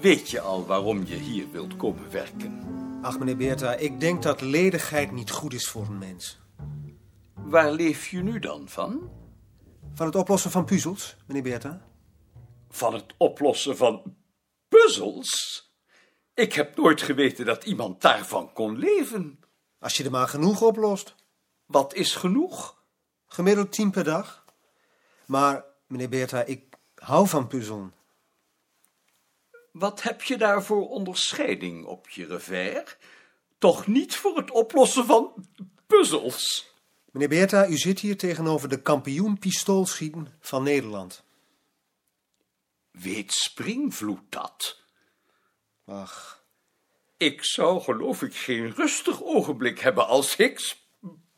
Weet je al waarom je hier wilt komen werken? Ach, meneer Beerta, ik denk dat ledigheid niet goed is voor een mens. Waar leef je nu dan van? Van het oplossen van puzzels, meneer Beerta? Van het oplossen van puzzels? Ik heb nooit geweten dat iemand daarvan kon leven. Als je er maar genoeg oplost. Wat is genoeg? Gemiddeld tien per dag. Maar, meneer Beerta, ik hou van puzzelen. Wat heb je daar voor onderscheiding op je revers? Toch niet voor het oplossen van puzzels? Meneer Beerta, u zit hier tegenover de kampioen pistoolschieten van Nederland. Weet Springvloed dat? Ach, Ik zou geloof ik geen rustig ogenblik hebben als ik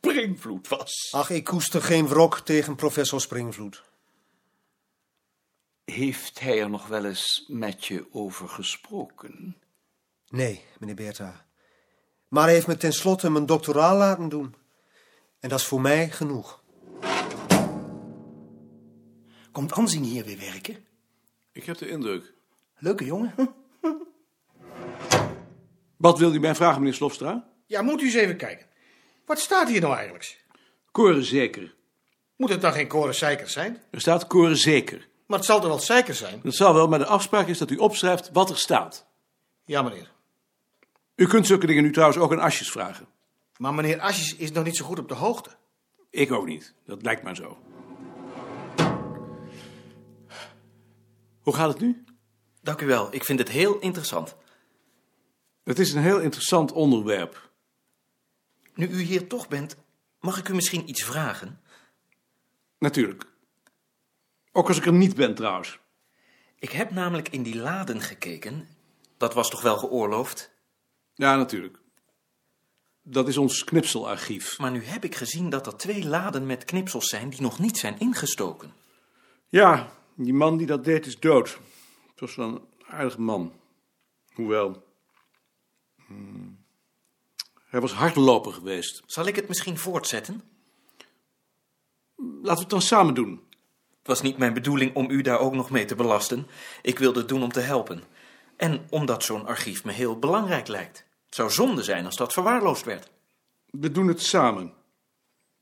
Springvloed was. ach, ik koester geen wrok tegen professor Springvloed. Heeft hij er nog wel eens met je over gesproken? Nee, meneer Beerta. Maar hij heeft me tenslotte mijn doctoraal laten doen. En dat is voor mij genoeg. Komt Anzien hier weer werken? Ik heb de indruk. Leuke jongen. Hm. Wat wil u mij vragen, meneer Slofstra? Ja, moet u eens even kijken. Wat staat hier nou eigenlijk? Koren zeker. Moet het dan geen koren zeikers zijn? Er staat koren zeker. Maar het zal toch wel zeikers zijn? Dat zal wel, maar de afspraak is dat u opschrijft wat er staat. Ja, meneer. U kunt zulke dingen nu trouwens ook aan Asjes vragen. Maar meneer Asjes is nog niet zo goed op de hoogte. Ik ook niet. Dat lijkt maar zo. Hoe gaat het nu? Dank u wel, ik vind het heel interessant. Het is een heel interessant onderwerp. Nu u hier toch bent, mag ik u misschien iets vragen? Natuurlijk. Ook als ik er niet ben trouwens. Ik heb namelijk in die laden gekeken. Dat was toch wel geoorloofd? Ja, natuurlijk. Dat is ons knipselarchief. Maar nu heb ik gezien dat er twee laden met knipsels zijn die nog niet zijn ingestoken. Ja, die man die dat deed is dood. Het was wel een aardig man. Hoewel. hmm, Hij was hardloper geweest. Zal ik het misschien voortzetten? Laten we het dan samen doen. Het was niet mijn bedoeling om u daar ook nog mee te belasten. Ik wilde het doen om te helpen. En omdat zo'n archief me heel belangrijk lijkt. Het zou zonde zijn als dat verwaarloosd werd. We doen het samen.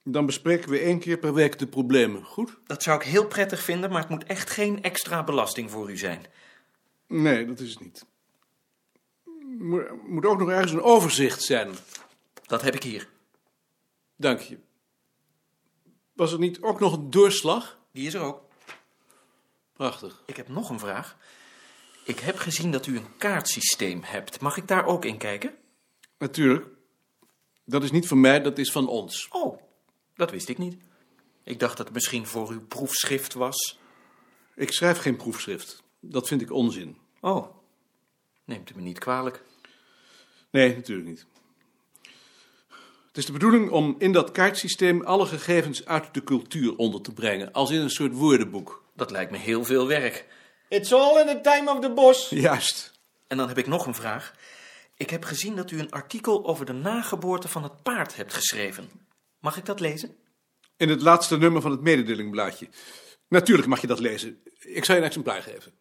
Dan bespreken we één keer per week de problemen, goed? Dat zou ik heel prettig vinden, maar het moet echt geen extra belasting voor u zijn. Nee, dat is het niet. Mo- Er moet ook nog ergens een overzicht zijn. Dat heb ik hier. Dank je. Was er niet ook nog een doorslag? Die is er ook. Prachtig. Ik heb nog een vraag. Ik heb gezien dat u een kaartsysteem hebt. Mag ik daar ook in kijken? Natuurlijk. Dat is niet van mij, dat is van ons. Oh, dat wist ik niet. Ik dacht dat het misschien voor uw proefschrift was. Ik schrijf geen proefschrift. Dat vind ik onzin. Oh, neemt u me niet kwalijk. Nee, natuurlijk niet. Het is de bedoeling om in dat kaartsysteem alle gegevens uit de cultuur onder te brengen, als in een soort woordenboek. Dat lijkt me heel veel werk. It's all in the time of the boss. Juist. En dan heb ik nog een vraag. Ik heb gezien dat u een artikel over de nageboorte van het paard hebt geschreven. Mag ik dat lezen? In het laatste nummer van het mededelingblaadje. Natuurlijk mag je dat lezen. Ik zal je een exemplaar geven.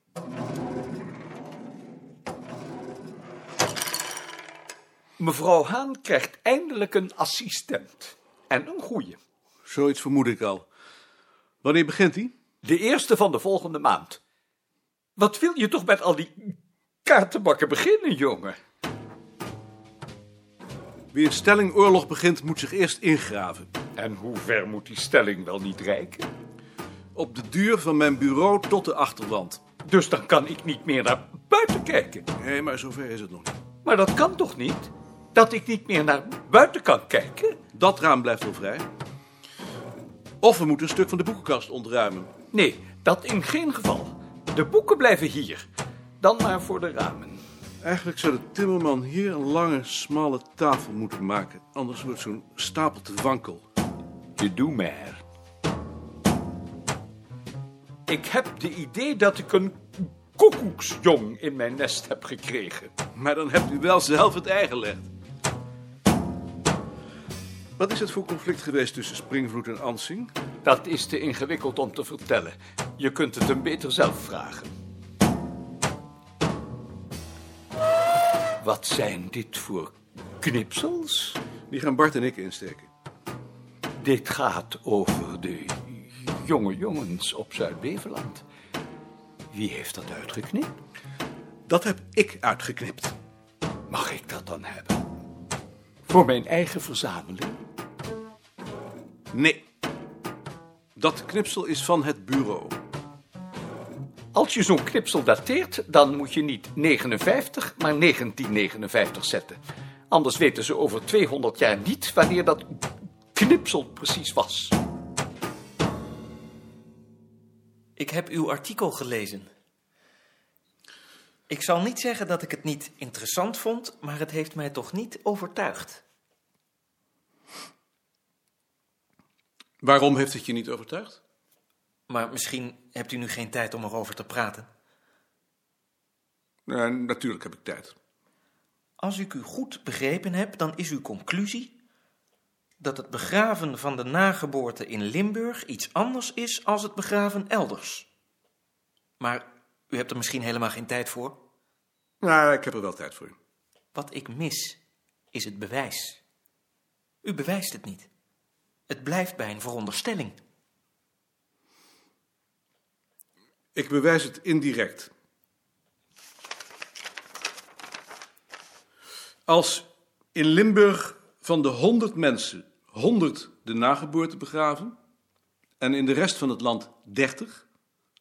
Mevrouw Haan krijgt eindelijk een assistent. En een goeie. Zoiets vermoed ik al. Wanneer begint die? De eerste van de volgende maand. Wat wil je toch met al die kaartenbakken beginnen, jongen? Wie een stelling oorlog begint, moet zich eerst ingraven. En hoe ver moet die stelling wel niet reiken? Op de duur van mijn bureau tot de achterwand. Dus dan kan ik niet meer naar buiten kijken. Hé, nee, maar zover is het nog niet. Maar dat kan toch niet? Dat ik niet meer naar buiten kan kijken? Dat raam blijft wel vrij. Of we moeten een stuk van de boekenkast ontruimen. Nee, dat in geen geval. De boeken blijven hier. Dan maar voor de ramen. Eigenlijk zou de timmerman hier een lange, smalle tafel moeten maken. Anders wordt zo'n stapel te wankel. Je doe maar. Ik heb de idee dat ik een koekoeksjong in mijn nest heb gekregen. Maar dan hebt u wel zelf het ei gelegd. Wat is het voor conflict geweest tussen Springvloed en Ansing? Dat is te ingewikkeld om te vertellen. Je kunt het hem beter zelf vragen. Wat zijn dit voor knipsels? Die gaan Bart en ik insteken. Dit gaat over de jonge jongens op Zuid-Beveland. Wie heeft dat uitgeknipt? Dat heb ik uitgeknipt. Mag ik dat dan hebben? Voor mijn eigen verzameling? Nee. Dat knipsel is van het bureau. Als je zo'n knipsel dateert, dan moet je niet 59, maar 1959 zetten. Anders weten ze over 200 jaar niet wanneer dat knipsel precies was. Ik heb uw artikel gelezen. Ik zal niet zeggen dat ik het niet interessant vond, maar het heeft mij toch niet overtuigd. Waarom heeft het je niet overtuigd? Maar misschien hebt u nu geen tijd om erover te praten. Nou, natuurlijk heb ik tijd. Als ik u goed begrepen heb, dan is uw conclusie dat het begraven van de nageboorte in Limburg iets anders is als het begraven elders. Maar u hebt er misschien helemaal geen tijd voor. Nou, ik heb er wel tijd voor. Wat ik mis is het bewijs. U bewijst het niet. Het blijft bij een veronderstelling. Ik bewijs het indirect. Als in Limburg van de 100 mensen 100 de nageboorte begraven en in de rest van het land 30,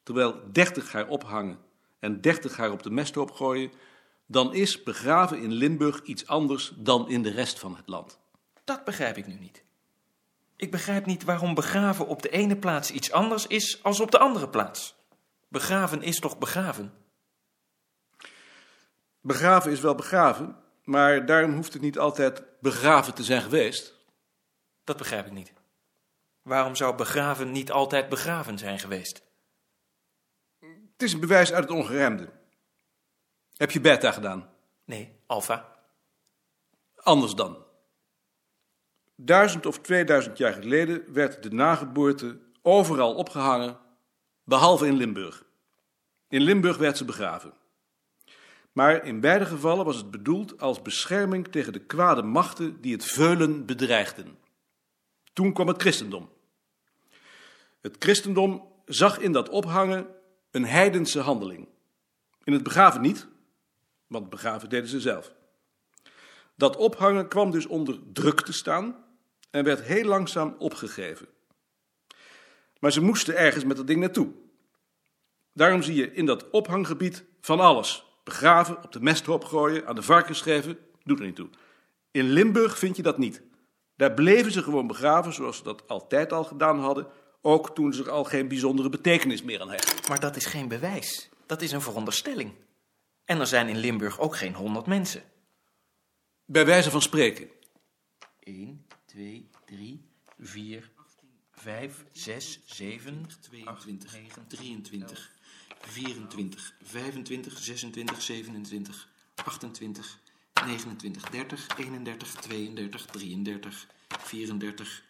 terwijl 30 haar ophangen en 30 haar op de mesthoop gooien, dan is begraven in Limburg iets anders dan in de rest van het land. Dat begrijp ik nu niet. Ik begrijp niet waarom begraven op de ene plaats iets anders is als op de andere plaats. Begraven is toch begraven? Begraven is wel begraven, maar daarom hoeft het niet altijd begraven te zijn geweest. Dat begrijp ik niet. Waarom zou begraven niet altijd begraven zijn geweest? Het is een bewijs uit het ongeremde. Heb je beta gedaan? Nee, Alfa. Anders dan. Duizend of tweeduizend jaar geleden werd de nageboorte overal opgehangen, behalve in Limburg. In Limburg werd ze begraven. Maar in beide gevallen was het bedoeld als bescherming tegen de kwade machten die het veulen bedreigden. Toen kwam het christendom. Het christendom zag in dat ophangen een heidense handeling. In het begraven niet, want begraven deden ze zelf. Dat ophangen kwam dus onder druk te staan en werd heel langzaam opgegeven. Maar ze moesten ergens met dat ding naartoe. Daarom zie je in dat ophanggebied van alles. Begraven, op de mesthoop gooien, aan de varkens geven, doet er niet toe. In Limburg vind je dat niet. Daar bleven ze gewoon begraven zoals ze dat altijd al gedaan hadden, ook toen ze er al geen bijzondere betekenis meer aan hechten. Maar dat is geen bewijs. Dat is een veronderstelling. En er zijn in Limburg ook geen honderd mensen. Bij wijze van spreken. 1, 2, 3, 4, 5, 6, 7, 22, 23, 24, 25, 26, 27, 28, 29, 30, 31, 32, 33, 34.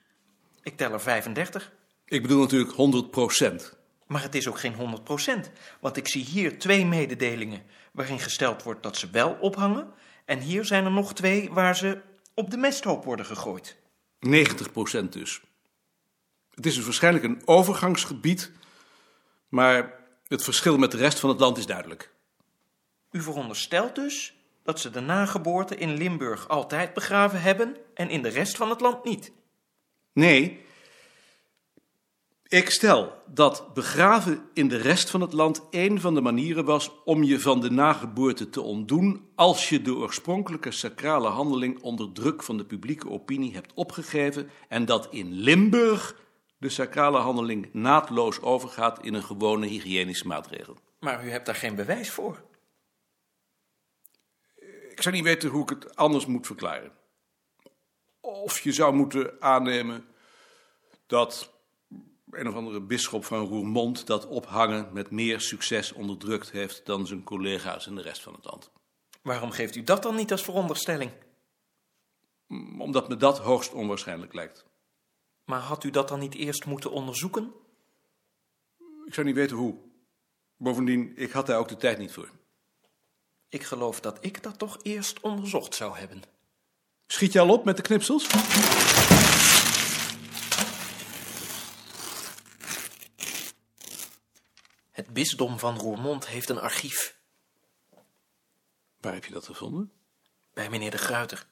Ik tel er 35. Ik bedoel natuurlijk 100 procent. Maar het is ook geen 100%, want ik zie hier twee mededelingen waarin gesteld wordt dat ze wel ophangen. En hier zijn er nog twee waar ze op de mesthoop worden gegooid. 90 procent dus. Het is dus waarschijnlijk een overgangsgebied, maar het verschil met de rest van het land is duidelijk. U veronderstelt dus dat ze de nageboorte in Limburg altijd begraven hebben en in de rest van het land niet. Nee, ik stel dat begraven in de rest van het land een van de manieren was om je van de nageboorte te ontdoen als je de oorspronkelijke sacrale handeling onder druk van de publieke opinie hebt opgegeven en dat in Limburg de sacrale handeling naadloos overgaat in een gewone hygiënische maatregel. Maar u hebt daar geen bewijs voor. Ik zou niet weten hoe ik het anders moet verklaren. Of je zou moeten aannemen dat een of andere bisschop van Roermond dat ophangen met meer succes onderdrukt heeft dan zijn collega's in de rest van het land. Waarom geeft u dat dan niet als veronderstelling? Omdat me dat hoogst onwaarschijnlijk lijkt. Maar had u dat dan niet eerst moeten onderzoeken? Ik zou niet weten hoe. Bovendien, ik had daar ook de tijd niet voor. Ik geloof dat ik dat toch eerst onderzocht zou hebben. Schiet je al op met de knipsels? Het bisdom van Roermond heeft een archief Waar heb je dat gevonden? bij meneer de Gruiter.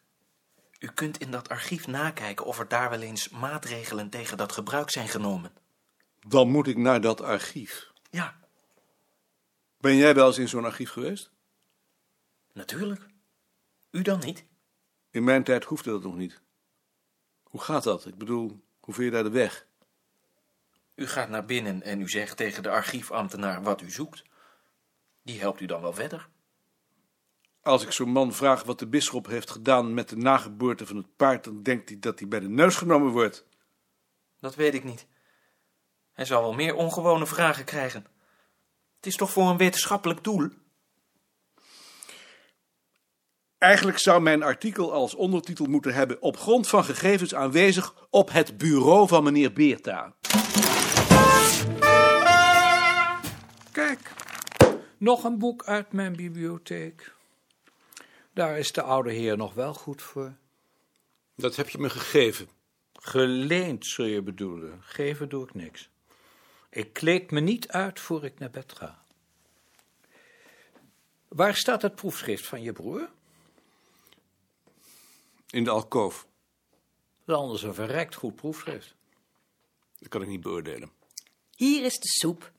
U kunt in dat archief nakijken of er daar wel eens maatregelen tegen dat gebruik zijn genomen. Dan moet ik naar dat archief. Ja, Ben jij wel eens in zo'n archief geweest? natuurlijk. U dan niet? In mijn tijd hoefde dat nog niet. Hoe gaat dat? Ik bedoel, hoe vind je daar de weg? U gaat naar binnen en u zegt tegen de archiefambtenaar wat u zoekt. Die helpt u dan wel verder. Als ik zo'n man vraag wat de bisschop heeft gedaan met de nageboorte van het paard, dan denkt hij dat hij bij de neus genomen wordt. Dat weet ik niet. Hij zal wel meer ongewone vragen krijgen. Het is toch voor een wetenschappelijk doel? Eigenlijk zou mijn artikel als ondertitel moeten hebben: Op grond van gegevens aanwezig op het bureau van meneer Beerta. Kijk, nog een boek uit mijn bibliotheek. Daar is de oude heer nog wel goed voor. Dat heb je me gegeven. Geleend, zul je bedoelen. Geven doe ik niks. Ik kleed me niet uit voor ik naar bed ga. Waar staat het proefschrift van je broer? In de alkoof. Dat is anders een verrekt goed proefschrift. Dat kan ik niet beoordelen. Hier is de soep.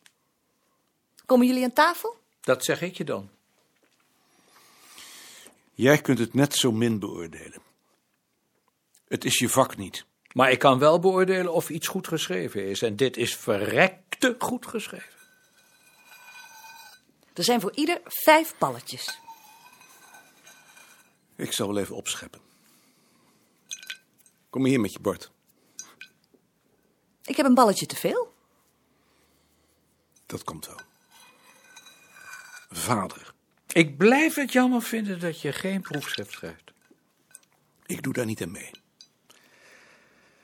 Komen jullie aan tafel? Dat zeg ik je dan. Jij kunt het net zo min beoordelen. Het is je vak niet. Maar ik kan wel beoordelen of iets goed geschreven is. En dit is verrekte goed geschreven. Er zijn voor ieder vijf balletjes. Ik zal wel even opscheppen. Kom hier met je bord. Ik heb een balletje te veel. Dat komt wel. Vader, Ik blijf het jammer vinden dat je geen proefschrift schrijft. ik doe daar niet aan mee.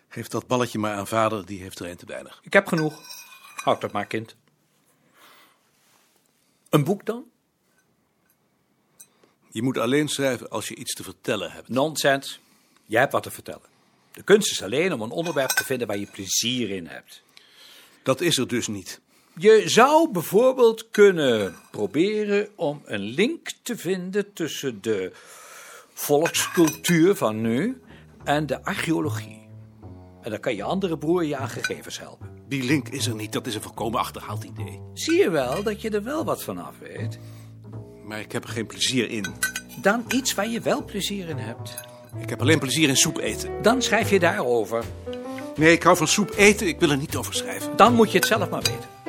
Geef dat balletje maar aan vader, die heeft er een te weinig. Ik heb genoeg. Houd dat maar, kind. Een boek dan? Je moet alleen schrijven als je iets te vertellen hebt. Nonsens. Jij hebt wat te vertellen. De kunst is alleen om een onderwerp te vinden waar je plezier in hebt. Dat is er dus niet. Je zou bijvoorbeeld kunnen proberen om een link te vinden tussen de volkscultuur van nu en de archeologie. En dan kan je andere broer je aan gegevens helpen. Die link is er niet, dat is een volkomen achterhaald idee. Zie je wel dat je er wel wat van af weet? Maar ik heb er geen plezier in. Dan iets waar je wel plezier in hebt. Ik heb alleen plezier in soep eten. Dan schrijf je daarover. Nee, ik hou van soep eten, ik wil er niet over schrijven. Dan moet je het zelf maar weten.